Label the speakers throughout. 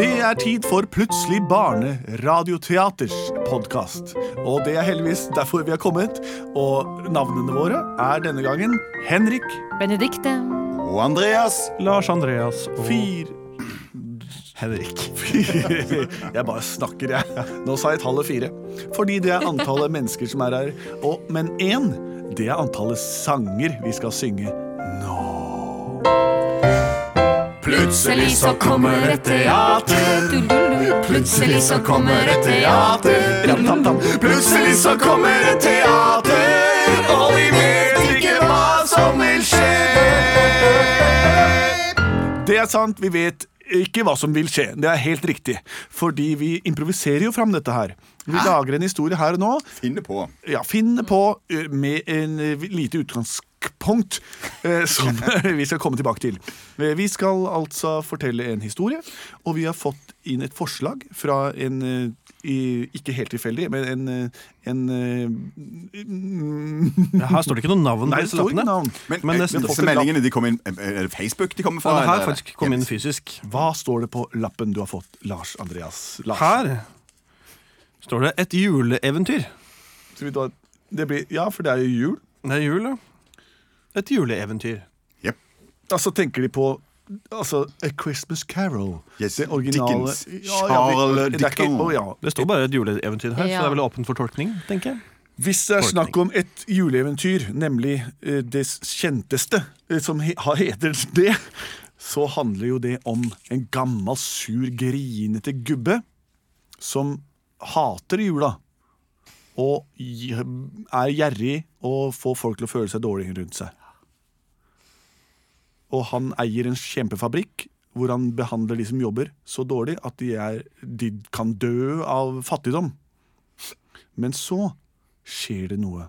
Speaker 1: Det er tid for Plutselig barneradioteaters podkast. Og det er heldigvis derfor vi har kommet. Og navnene våre er denne gangen Henrik,
Speaker 2: Benedikte.
Speaker 3: Og Andreas.
Speaker 4: Lars Andreas og
Speaker 1: Fyr...
Speaker 3: Henrik.
Speaker 1: Jeg bare snakker, jeg. Nå sa jeg tallet fire. Fordi det er antallet mennesker som er her. Og, men én, det er antallet sanger vi skal synge.
Speaker 3: Plutselig så kommer et teater. Plutselig så kommer et teater.
Speaker 1: Ram-tam-tam.
Speaker 3: Plutselig så kommer et teater, og vi vet ikke hva som vil skje.
Speaker 1: Det er sant, vi vet ikke hva som vil skje. Det er helt riktig. Fordi vi improviserer jo fram dette her. Vi lager en historie her og nå.
Speaker 3: Finne på.
Speaker 1: Ja, finne på ø, med en ø, lite utgangspunkt ø, som vi skal komme tilbake til. Eh, Vi skal altså fortelle en historie, og vi har fått inn et forslag fra en ø, i, ikke helt tilfeldig, men en, ø, en ø, mm,
Speaker 4: Ja, Her står det ikke noe navn på
Speaker 1: Nei, det
Speaker 4: disse
Speaker 1: står ikke
Speaker 4: lappene.
Speaker 1: navn.
Speaker 3: Men, eh,
Speaker 4: Men
Speaker 3: men
Speaker 4: nesten-
Speaker 3: disse meldingene de kom inn eh, Er det Facebook de kommer
Speaker 4: Ja,
Speaker 3: fra?
Speaker 4: det her
Speaker 3: eller?
Speaker 4: faktisk kom inn fysisk.
Speaker 1: Hva står det på lappen du har fått, Lars Andreas? Lars.
Speaker 4: Her står det 'Et juleeventyr'.
Speaker 1: Skal vi ta, det blir, ja, for det er jo jul.
Speaker 4: Det er jul, ja. Et juleeventyr.
Speaker 3: Jep.
Speaker 1: Altså tenker de på altså, A Christmas Carol.
Speaker 3: Yes,
Speaker 1: det originale
Speaker 3: Dickens.
Speaker 1: Ja, ja, det-
Speaker 3: Charles
Speaker 1: det er ikke-
Speaker 3: Dickens.
Speaker 1: å, ja.
Speaker 4: Det står bare 'et juleeventyr' her, så
Speaker 2: Ja.
Speaker 4: det er vel åpent for tolkning, tenker jeg.
Speaker 1: Hvis det er
Speaker 4: Tolkning.
Speaker 1: snakk om et juleeventyr, nemlig eh, det kjenteste eh, som he har- heter det, så handler jo det om en gammel, sur, grinete gubbe som hater jula. Og gi- er gjerrig og får folk til å føle seg dårlig rundt seg. Og han eier en kjempefabrikk hvor han behandler de som jobber så dårlig at de, er, de kan dø av fattigdom. Men så skjer det noe.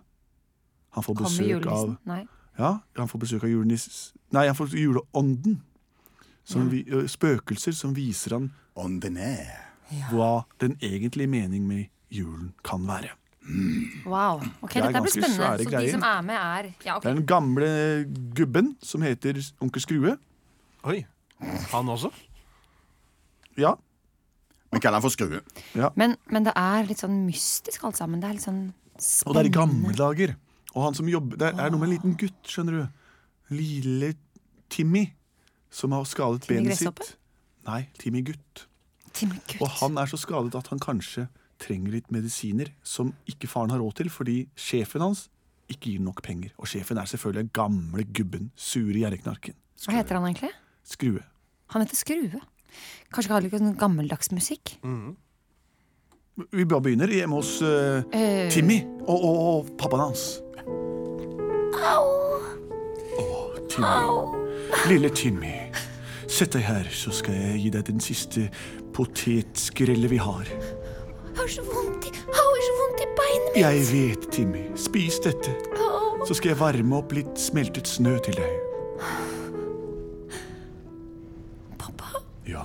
Speaker 1: Han får
Speaker 2: Kommer
Speaker 1: besøk av
Speaker 2: julenissen? Nei.
Speaker 1: ja, han får besøk av juleniss... Nei, han får juleånden. Som vi, ø, spøkelser som viser han
Speaker 3: On the air.
Speaker 1: hva den egentlige mening med julen kan være.
Speaker 2: Wow. Ok,
Speaker 1: Det er
Speaker 2: Dette blir
Speaker 1: ganske
Speaker 2: spennende.
Speaker 1: svære
Speaker 2: Så
Speaker 1: greier.
Speaker 2: de som er med, er ja, ok.
Speaker 1: Det er den gamle gubben som heter onkel Skrue.
Speaker 4: Oi. Han også?
Speaker 1: Ja,
Speaker 3: Vi kaller han for Skrue.
Speaker 2: men, men det er litt sånn mystisk alt sammen. Det er litt sånn
Speaker 1: Og det er i
Speaker 2: spennende.
Speaker 1: gamle dager. Og han som jobber Det er noe med en liten gutt, skjønner du. Lille Timmy. Som har skadet
Speaker 2: Timmy
Speaker 1: benet
Speaker 2: Gresshoppe?
Speaker 1: sitt. Nei, Timmy gutt.
Speaker 2: Timmy, Gud.
Speaker 1: Og han er så skadet at han kanskje trenger litt medisiner som ikke faren har råd til, fordi sjefen hans ikke gir nok penger. Og sjefen er selvfølgelig den gamle gubben, sure gjerriknarken.
Speaker 2: Hva heter han egentlig?
Speaker 1: Skrue.
Speaker 2: Han heter Skrue. Kanskje ikke han liker sånn gammeldags musikk?
Speaker 1: Mm. Vi bare begynner hjemme hos eh,
Speaker 2: Eh,
Speaker 1: Timmy og, og, og pappaen hans. Au! Timmy. Lille Timmy. Sett deg her, så skal jeg gi deg den siste potetskrellet vi har.
Speaker 2: Jeg har så vondt i, jeg har så vondt i beina!
Speaker 1: Jeg vet, Timmy. Spis dette. Så skal jeg varme opp litt smeltet snø til deg.
Speaker 2: Pappa,
Speaker 1: Ja.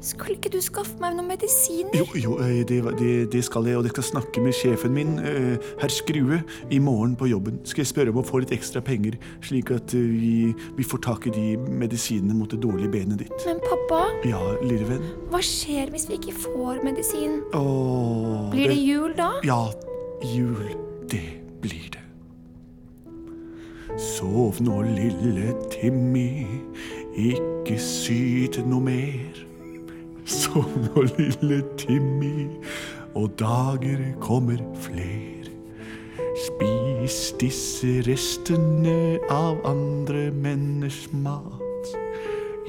Speaker 2: skulle ikke du skaffe meg noen medisiner?
Speaker 1: Jo, jo eh, det, var- det, det skal jeg, og jeg skal snakke med sjefen min, eh, herr Skrue, i morgen på jobben. Skal jeg spørre om å få litt ekstra penger, slik at eh, vi, vi får tak i de medisinene mot det dårlige benet ditt.
Speaker 5: Men pappa,
Speaker 1: Ja, lille venn.
Speaker 5: hva skjer hvis vi ikke får medisin?
Speaker 1: Åh,
Speaker 5: Blir det jul da?
Speaker 1: Ja, jul, det blir det. Sov nå, lille Timmy, ikke syt noe mer. Sov nå, lille Timmy, og dager kommer fler. Spis disse restene av andre menners mat.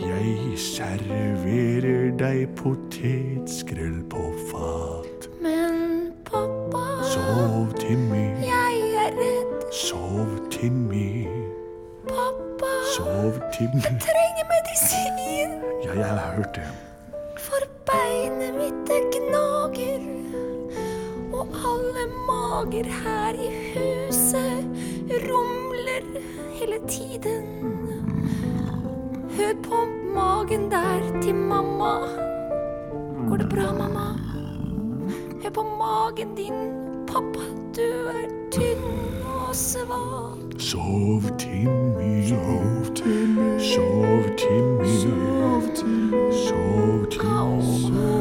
Speaker 1: Jeg serverer deg potetskrell på fat.
Speaker 5: Men pappa,
Speaker 1: Sov, Timmy.
Speaker 5: jeg er redd.
Speaker 1: Sov, Timmy.
Speaker 5: Pappa,
Speaker 1: Sov, Timmy.
Speaker 5: trenger medisin.
Speaker 1: Ja, jeg har hørt det.
Speaker 5: For beinet mitt det gnager. Og
Speaker 2: og alle mager her i huset rumler hele tiden. Hør på magen der til mamma. Går det bra, mamma? Hør på magen din, pappa. Du er tynn og svak.
Speaker 6: Sov, Timmy. Sov, Timmy. Sov, Timmy. Sov, Timmy. Sov,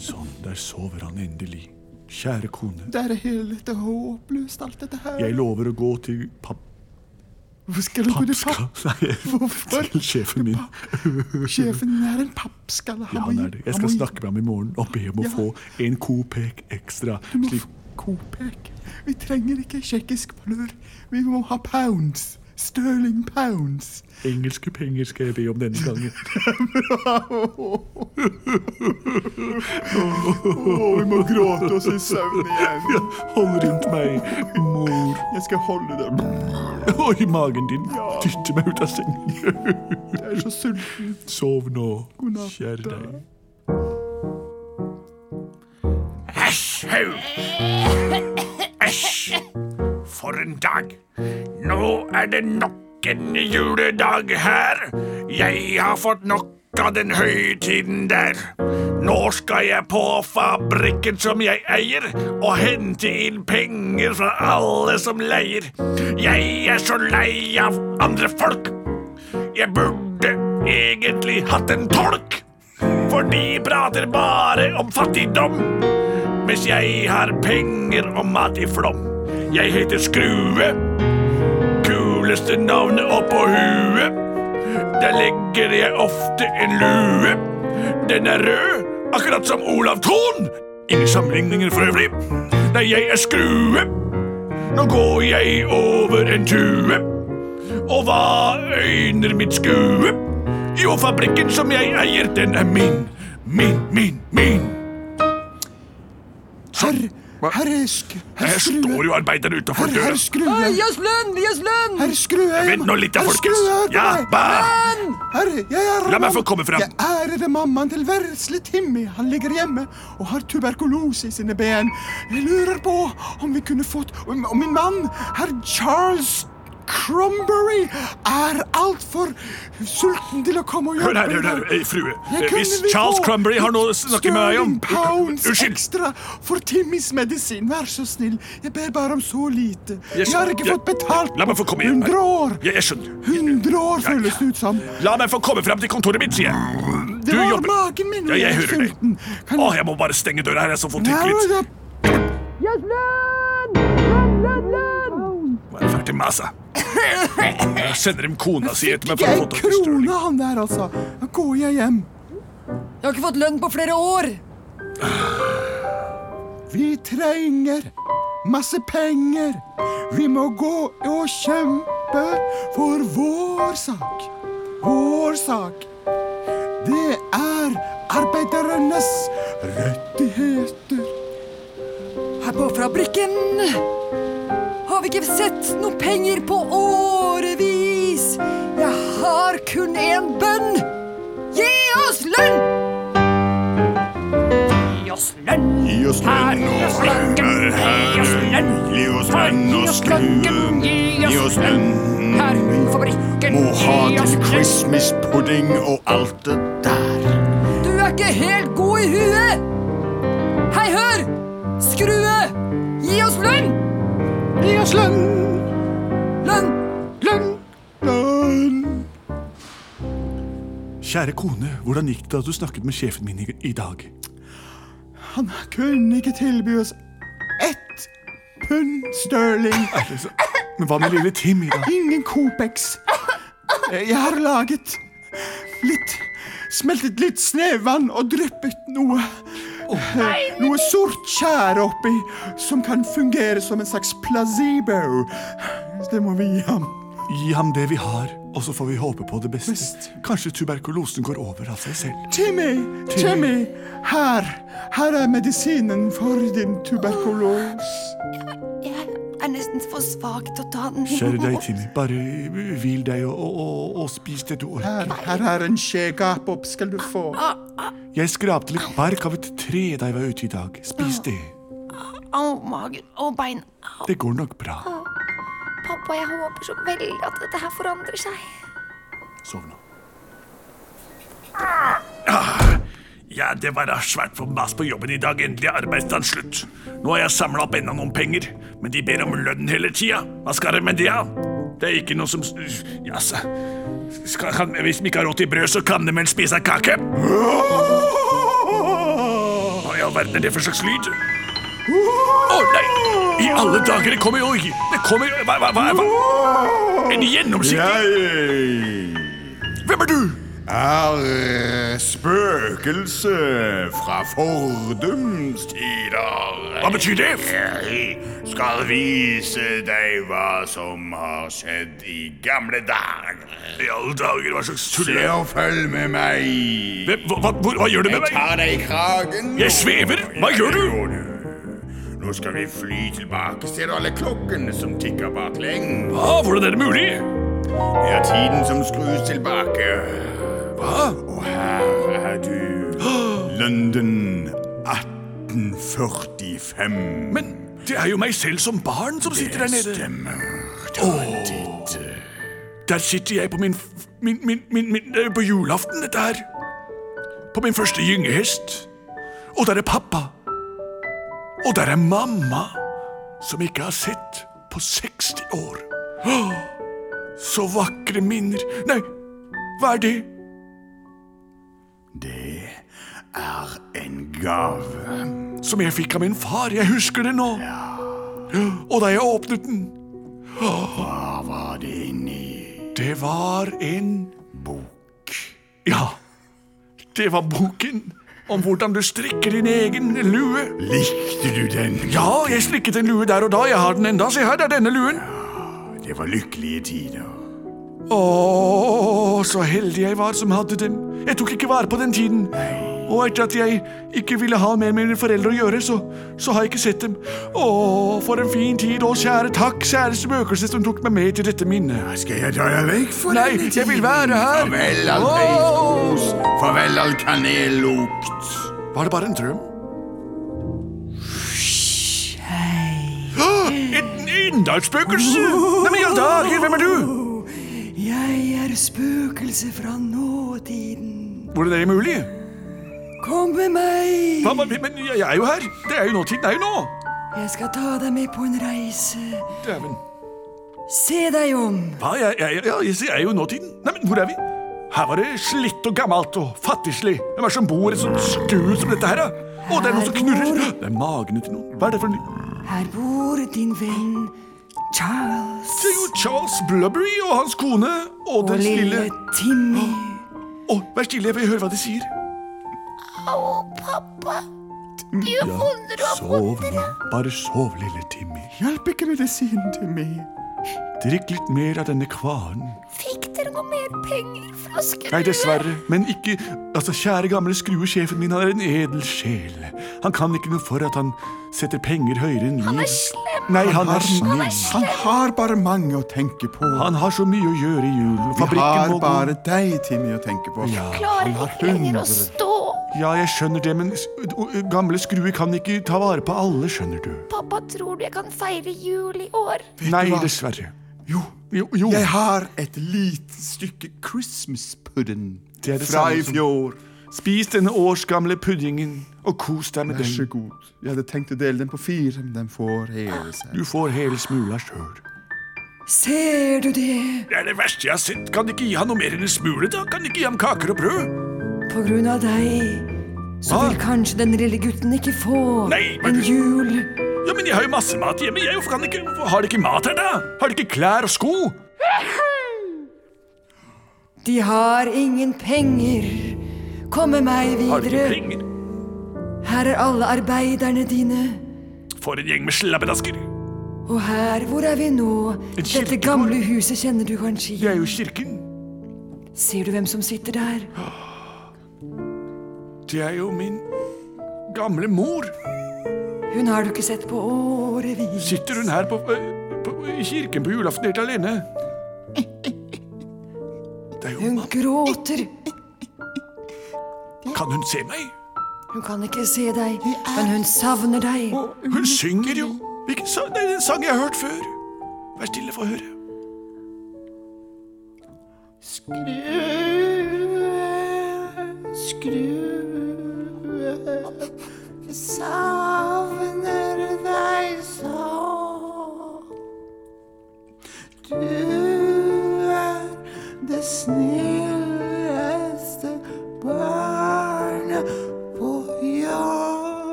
Speaker 6: Sånn, der sover han endelig. Kjære kone,
Speaker 3: Det er helt håpløst, alt dette her.
Speaker 6: jeg lover å gå til papp...
Speaker 3: Hvor skal du gå til
Speaker 6: Pappska... Nei,
Speaker 3: Hvorfor?
Speaker 6: til sjefen min.
Speaker 3: Sjefen er en pappskalle.
Speaker 6: Ja,
Speaker 3: må
Speaker 6: han
Speaker 3: gi-
Speaker 6: er det. Jeg
Speaker 3: må
Speaker 6: skal
Speaker 3: gi
Speaker 6: snakke med ham i morgen og be om å
Speaker 3: Ja.
Speaker 6: få en kopek ekstra.
Speaker 3: Du må
Speaker 6: Slik
Speaker 3: få kopek. Vi trenger ikke tsjekkisk valør. Vi må ha pounds. Sterling pounds.
Speaker 6: engelske penger skal jeg be om denne gangen.
Speaker 3: Å, vi må gråte oss i søvn igjen.
Speaker 6: Hold rundt meg, mor.
Speaker 3: Jeg skal holde dem.
Speaker 6: Og i magen din. Dytte meg ut av sengen.
Speaker 3: Jeg er så sulten.
Speaker 6: Sov nå,
Speaker 3: God natt,
Speaker 6: kjære
Speaker 3: da.
Speaker 6: deg.
Speaker 1: Æsj, hau! Æsj! For en dag! Nå er det nok en juledag her. Jeg har fått nok av den høytiden der. Nå skal jeg på fabrikken som jeg eier, og hente inn penger fra alle som leier. Jeg er så lei av andre folk. Jeg burde egentlig hatt en tolk, for de prater bare om fattigdom hvis jeg har penger og mat i flom. Jeg heter Skrue. Kuleste navnet oppå huet. Der legger jeg ofte en lue. Den er rød, akkurat som Olav Thon. Ingen sammenligninger for øvrig. Nei, jeg er Skrue. Nå går jeg over en tue. Og hva øyner mitt skue? Jo, fabrikken som jeg eier, den er min. Min, min, min.
Speaker 3: Herr, herr Sk... Herr
Speaker 1: Her står
Speaker 3: Skrue.
Speaker 1: jo arbeideren utenfor
Speaker 3: Herr, herr
Speaker 1: døra.
Speaker 3: Skrue.
Speaker 7: Gjøs lønn! Gjøs lønn!
Speaker 3: Herr Skrue.
Speaker 1: Vent nå litt, da, folkens. Ja, bare
Speaker 3: Herr, jeg er
Speaker 1: La meg få komme fram.
Speaker 3: Jeg ærede mammaen til vesle Timmy. Han ligger hjemme og har tuberkulose i sine ben. Jeg lurer på om vi kunne fått Om om min mann, herr Charles Cromberry, er altfor sulten til å komme og
Speaker 1: Hør
Speaker 3: hjelpe.
Speaker 1: her, hør her, eh, frue.
Speaker 3: Jeg
Speaker 1: Eh,
Speaker 3: kunne
Speaker 1: Hvis
Speaker 3: vi
Speaker 1: Charles
Speaker 3: få
Speaker 1: Crumbery har noe å
Speaker 3: litt
Speaker 1: snakke med deg om
Speaker 3: sterling pounds
Speaker 1: Unnskyld.
Speaker 3: ekstra for Timmys medisin, vær så snill. Jeg ber bare om så lite.
Speaker 1: Jeg
Speaker 3: Jeg, har ikke
Speaker 1: skjønner.
Speaker 3: fått betalt
Speaker 1: La meg få komme igjen.
Speaker 3: 100 år.
Speaker 1: Jeg, jeg skjønner.
Speaker 3: 100
Speaker 1: Ja,
Speaker 3: år
Speaker 1: ja.
Speaker 3: føles det ut som.
Speaker 1: La meg få komme fram til kontoret mitt, sier jeg.
Speaker 3: Det
Speaker 1: Du
Speaker 3: var
Speaker 1: jobber.
Speaker 3: magen min.
Speaker 1: Ja, jeg
Speaker 3: er
Speaker 1: hører deg.
Speaker 3: sulten. Kan-
Speaker 1: Å, jeg må bare stenge døra her, jeg så får tenke
Speaker 3: Nei, altså,
Speaker 1: litt.
Speaker 3: da-
Speaker 1: Nå er jeg ferdig med seg. Jeg sender dem kona si etter meg
Speaker 3: Ikke
Speaker 1: for å
Speaker 3: ei
Speaker 1: få tak i Stirling.
Speaker 3: krone, han der, altså. Da går jeg hjem.
Speaker 7: Jeg har ikke fått lønn på flere år!
Speaker 3: Vi trenger masse penger. Vi må gå og kjempe for vår sak. Vår sak. Det er arbeidernes rettigheter.
Speaker 7: Her på fabrikken har vi ikke sett noe penger på årevis. Jeg har kun én bønn. Gi oss lønn!
Speaker 1: Gi oss lønn! Gi oss lønn og lønner her. Gi oss lønn og skruen. Gi oss lønn. Her i fabrikken. Må ha til Christmas pudding og alt det der.
Speaker 7: Du er ikke helt god i huet! Hei, hør! Skrue! Gi oss lønn!
Speaker 3: Gi oss lønn,
Speaker 7: Lønn!
Speaker 3: lønn, lønn.
Speaker 6: Kjære kone, hvordan gikk det da du snakket med sjefen min i, i dag?
Speaker 3: Han kunne ikke tilby oss ett pund sterling.
Speaker 6: Men hva med lille Timmy, da?
Speaker 3: Ingen Copex. Eh, Jeg har laget litt Smeltet litt snøvann og dryppet noe eh, Noe sort tjære oppi som kan fungere som en slags placebo. Det må vi gi ham.
Speaker 6: Gi ham det vi har, og så får vi håpe på det beste. Kanskje tuberkulosen går over av seg selv.
Speaker 3: Timmy, Timmy, her. Her er medisinen for din tuberkulose.
Speaker 2: Jeg er nesten for svak til å ta den.
Speaker 6: Kjære deg, Timmy.
Speaker 3: eh,
Speaker 6: Bare hvil deg og, og, og, og spis det du orker.
Speaker 3: Her, her er en skje gap opp skal du få. Jeg skrapte litt bark av et tre da jeg var ute i dag. Spis det.
Speaker 8: Au, magen og bein. Au,
Speaker 3: Det går nok bra.
Speaker 8: pappa, jeg håper så veldig at dette her forandrer seg.
Speaker 3: Sov nå.
Speaker 1: Ja, det var da svært for mas på jobben i dag. Endelig er arbeidsdagen slutt. Nå har jeg samla opp enda noen penger, men de ber om lønn hele tida. Hva skal de med det? av? Det er ikke noe som Jaså. Skal- kan- Hvis de ikke har råd til brød, så kan de vel spise kake? Hva i all verden er det for slags lyd? Å nei! I alle dager, det kommer jo Det kommer Hva, hva, hva? hva? En gjennomsiktig
Speaker 7: Jeg
Speaker 1: Hvem er du?
Speaker 7: er spøkelse fra fordums tider.
Speaker 1: Hva betyr det?
Speaker 7: Jeg skal vise deg hva som har skjedd i gamle dager.
Speaker 1: I alle dager, hva slags tull
Speaker 7: Se
Speaker 1: er det?
Speaker 7: og følg med meg.
Speaker 1: Hvem- Hva, hva, hvor- hva gjør du med
Speaker 7: Jeg
Speaker 1: meg?
Speaker 7: tar deg i kragen.
Speaker 1: Jeg svever. Hva gjør du?
Speaker 7: Nå skal vi fly tilbake. Ser du alle klokkene som tikker baklengs?
Speaker 1: Ah, hvordan er det mulig?
Speaker 7: Det er tiden som skrus tilbake. Hva? Og her er du. London 1845.
Speaker 1: Men det er jo meg selv som barn som sitter der nede.
Speaker 7: Stemmer. Ta en titt.
Speaker 1: Der sitter jeg på min, f- min, min, min, min eh, På julaften, dette her. På min første gyngehest. Og der er pappa. Og der er mamma, som ikke har sett på 60 år. Åh, så vakre minner. Nei, hva er det?
Speaker 7: Det er en gave.
Speaker 1: Som jeg fikk av min far. Jeg husker det nå. Og da jeg åpnet den,
Speaker 7: Hva var det inni?
Speaker 1: det var en
Speaker 7: Bok.
Speaker 1: Ja, det var boken om hvordan du strikker din egen lue.
Speaker 7: Likte du den?
Speaker 1: Ja, jeg strikket en lue der og da. Jeg har den enda. Se her, det er denne luen.
Speaker 7: Det var lykkelige tider.
Speaker 1: Å, så heldig jeg var som hadde den. Jeg tok ikke vare på den tiden. Og etter at jeg ikke ville ha mer med mine foreldre å gjøre, så, så har jeg ikke sett dem. Å, for en fin tid, og kjære takk, kjære spøkelse som tok meg med til dette minnet.
Speaker 7: Skal jeg ta deg vekk for
Speaker 1: Nei,
Speaker 7: denne
Speaker 1: jeg vil
Speaker 7: tiden?
Speaker 1: være her.
Speaker 7: Farvel all bacons. Farvel all kanellukt.
Speaker 1: Var det bare en drøm? Et enda et spøkelse! Nei, men i all dager, hvem er du?
Speaker 2: Jeg er spøkelse fra nåtiden.
Speaker 1: Hvordan er det mulig?
Speaker 2: Kom med meg!
Speaker 1: Hva, hva, men jeg er jo her. Det er jo nåtiden. Det er jo nå.
Speaker 2: Jeg skal ta deg med på en reise.
Speaker 1: Dæven.
Speaker 2: Se deg om.
Speaker 1: Hva? Jeg, jeg, jeg, jeg, jeg er jo i nåtiden. Nei, men hvor er vi? Her var det slitt og gammelt og fattigslig. Hvem er det som bor i et sånt skur som dette her, da? Å, det er noen som knurrer. Det er magene til noen. Hva er det for en
Speaker 2: Her bor din venn Charles
Speaker 1: Det er jo Charles Blubbery og hans kone og
Speaker 2: og
Speaker 1: den
Speaker 2: lille
Speaker 1: stille
Speaker 2: Timmy.
Speaker 1: Å, vær stille, jeg vil høre hva de sier.
Speaker 8: Au, pappa. Du holder opp
Speaker 3: Sov nå. Bare sov, lille Timmy.
Speaker 9: Hjelp ikke medisinen til meg.
Speaker 3: Drikk litt mer av denne kvaren.
Speaker 8: Fikk dere noe mer penger fra skruen?
Speaker 3: Nei, dessverre. Men ikke Altså, kjære gamle skrue, sjefen min han er en edel sjel. Han kan ikke noe for at han setter penger høyere enn
Speaker 8: Han
Speaker 3: liv.
Speaker 8: er slem.
Speaker 3: Nei, han er
Speaker 8: Han
Speaker 3: snill.
Speaker 8: er slem.
Speaker 9: Han har bare mange å tenke på.
Speaker 3: Han har så mye å gjøre i julen.
Speaker 9: Vi
Speaker 3: Fabrikken
Speaker 9: har
Speaker 3: må gå.
Speaker 9: bare deg, Timmy, å tenke på.
Speaker 3: Ja,
Speaker 8: Klarer
Speaker 3: han har
Speaker 8: ikke lenger å
Speaker 3: hundre.
Speaker 8: stå.
Speaker 3: Ja, jeg skjønner det, men s- o- o- gamle skrue kan ikke ta vare på alle, skjønner du.
Speaker 8: Pappa, tror du jeg kan feire jul i år?
Speaker 3: Nei,
Speaker 9: hva?
Speaker 3: dessverre.
Speaker 9: Jo,
Speaker 3: Jo, jo.
Speaker 9: jeg har et lite stykke Christmas pudding
Speaker 3: Det er det
Speaker 9: fra
Speaker 3: samme
Speaker 9: i
Speaker 3: som-
Speaker 9: fjor.
Speaker 3: Spis denne årsgamle puddingen og kos deg med
Speaker 9: Vær så
Speaker 3: den.
Speaker 9: god. Jeg hadde tenkt å dele den på fire, men den får hele seg.
Speaker 3: Du får hele smula sjøl.
Speaker 2: Ser du det?
Speaker 1: Det er det verste jeg har sett. Kan de ikke gi han noe mer enn en smule, da? Kan de ikke gi ham kaker og brød?
Speaker 2: På grunn av deg så vil kanskje den lille gutten ikke få
Speaker 1: Ah! Nei, men
Speaker 2: en
Speaker 1: du-
Speaker 2: jul.
Speaker 1: Ja, men jeg har jo masse mat hjemme. Jeg, hvorfor kan de ikke, hvorfor har de ikke mat her, da? Har de ikke klær og sko?
Speaker 2: De har ingen penger. Kom med
Speaker 1: Har
Speaker 2: meg
Speaker 1: de ikke
Speaker 2: videre.
Speaker 1: penger?
Speaker 2: Her er alle arbeiderne dine.
Speaker 1: For en gjeng med slabbedasker.
Speaker 2: Og her, hvor er vi nå? Dette
Speaker 1: kirkegård.
Speaker 2: gamle huset kjenner du kanskje
Speaker 1: Det
Speaker 2: igjen.
Speaker 1: er jo kirken.
Speaker 2: Ser du hvem som sitter der?
Speaker 1: Det er jo min gamle mor.
Speaker 2: Hun har du ikke sett på årevis.
Speaker 1: Sitter hun her på, eh, på, i kirken på julaften helt alene? Det er jo
Speaker 2: Hun gråter.
Speaker 1: Kan hun se meg?
Speaker 2: Hun kan ikke se deg, men hun savner deg.
Speaker 1: Hun synger jo. Hvilken sang? Det er en sang jeg har hørt før. Vær stille, få høre.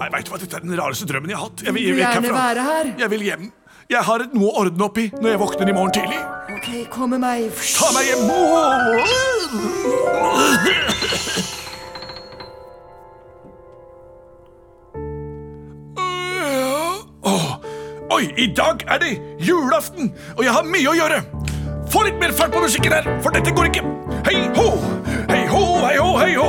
Speaker 1: Nei, vet du hva, Dette er den rareste drømmen jeg har hatt. Jeg vil, jeg
Speaker 2: Vil
Speaker 1: vil
Speaker 2: du
Speaker 1: ikke
Speaker 2: gjerne
Speaker 1: herfra.
Speaker 2: være her?
Speaker 1: Jeg vil hjem. Jeg har noe å ordne opp i når jeg våkner i morgen tidlig.
Speaker 2: Ok, kom med meg.
Speaker 1: Ta meg hjem! Åh, Oi, i dag er det julaften, og jeg har mye å gjøre. Få litt mer fart på musikken her, for dette går ikke. Hei ho, hei ho, hei ho, hei ho.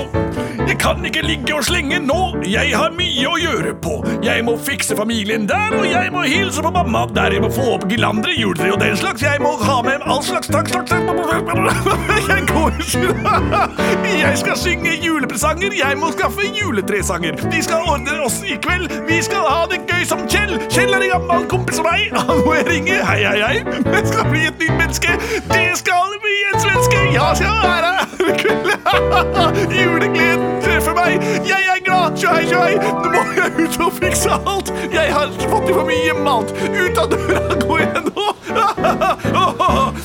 Speaker 1: Jeg kan ikke ligge og slenge nå, jeg har mye å gjøre på. Jeg må fikse familien der, og jeg må hilse på mamma der. Jeg må få opp glandere, juletre og den slags. Jeg må ha med all slags, slags, slags, slags. Jeg går ikke. Jeg skal synge julepresanger, jeg må skaffe juletresanger. De skal ordne oss i kveld, vi skal ha det gøy som Kjell. Kjell er en gammel kompis av meg, han må jeg ringe. Hei, hei, hei. Det skal bli et nytt menneske. Det skal bli en svenske. Jeg skal være her. Julegleden treffer meg. Jeg er glad. Tjohei, tjohei. Nå må jeg ut og fikse alt. Jeg har fått i for mye mat. Ut av døra går jeg nå.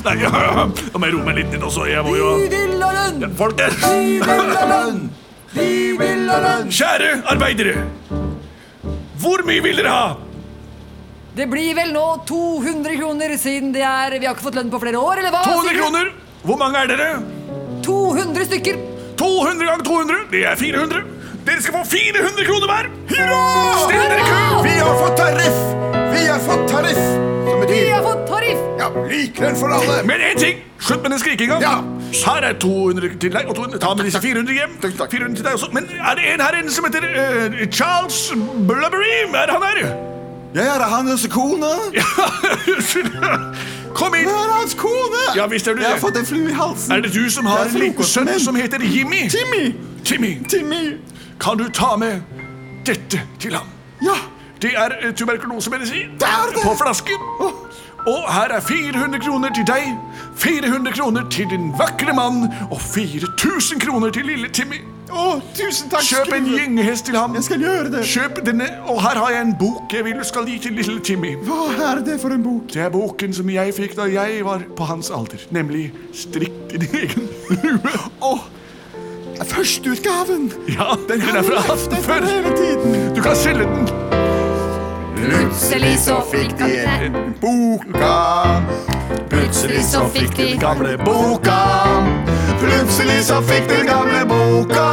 Speaker 1: Nei, nå må jeg roe meg litt ned også. Jeg må jo
Speaker 2: Vi vil ha lønn!
Speaker 1: Folkens!
Speaker 2: Vi vil ha lønn! Vi vil ha lønn!
Speaker 1: Kjære arbeidere. Hvor mye vil dere ha?
Speaker 2: Det blir vel nå 200 kroner siden det er Vi har ikke fått lønn på flere år, eller hva?
Speaker 1: 200
Speaker 2: sier du?
Speaker 1: kroner. Hvor mange er dere?
Speaker 2: 200 stykker.
Speaker 1: 200 ganger 200, det er 400. Dere skal få 400 kroner hver! Hurra! Still dere i kø!
Speaker 7: Vi har fått tariff! Vi har fått tariff! Som
Speaker 2: Vi
Speaker 7: betyr
Speaker 2: har fått tariff.
Speaker 7: ja, likelønn for alle.
Speaker 1: Men én ting! Slutt med den skrikinga.
Speaker 7: Ja.
Speaker 1: Her er 200 til deg, og 200. ta med disse 400 hjem.
Speaker 7: Takk, takk.
Speaker 1: 400 til deg også. Men er det en her inne som heter eh, Charles Blubbery? Er han her?
Speaker 3: Jeg er hans kone.
Speaker 1: Unnskyld. Kom
Speaker 3: Jeg
Speaker 1: inn.
Speaker 3: er hans kone!
Speaker 1: Ja, visst er du
Speaker 3: Jeg har
Speaker 1: det.
Speaker 3: fått en flue i halsen.
Speaker 1: Er det du som har
Speaker 3: Jeg er
Speaker 1: en liten sønn
Speaker 3: frokostmenn.
Speaker 1: som heter Jimmy?
Speaker 3: Timmy!
Speaker 1: Timmy,
Speaker 3: Timmy!
Speaker 1: kan du ta med dette til ham?
Speaker 3: Ja!
Speaker 1: Det er eh, tuberkulosemedisin
Speaker 3: Det er det!
Speaker 1: på flaske. Og her er 400 kroner til deg, 400 kroner til din vakre mann og 4000 kroner til lille Timmy.
Speaker 3: Å, tusen takk,
Speaker 1: Kjøp en
Speaker 3: skrue.
Speaker 1: gyngehest til ham.
Speaker 3: Jeg skal gjøre det.
Speaker 1: Kjøp denne, og her har jeg en bok jeg vil du skal gi til lille Timmy.
Speaker 3: Hva er det for en bok?
Speaker 1: Det er boken som jeg fikk da jeg var på hans alder, nemlig Strikk din egen lue.
Speaker 3: Åh, Førsteutgaven!
Speaker 1: Ja, den er fra
Speaker 3: Den
Speaker 1: aften
Speaker 3: er
Speaker 1: før.
Speaker 3: hele tiden.
Speaker 1: Du kan selge den.
Speaker 7: Plutselig så fikk de en boka. Plutselig så fikk de den gamle boka. Plutselig så fikk de den gamle boka.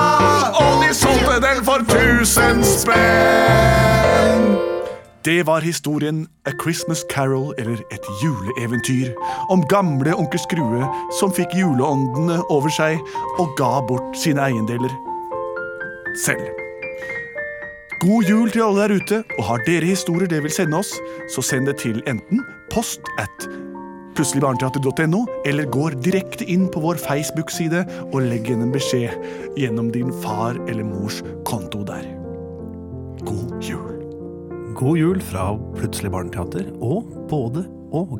Speaker 1: Og de solgte den for 1000 spenn. Det var historien A Christmas Carol, eller Et juleeventyr, om gamle onkel Skrue som fikk juleåndene over seg og ga bort sine eiendeler selv. God jul til alle der ute, og har dere historier dere vil sende oss, så send det til enten post at plutseligbarneteater.no, eller går direkte inn på vår Facebook-side og legg igjen en beskjed gjennom din far eller mors konto der. God jul.
Speaker 4: God jul fra Plutselig barneteater og Både og.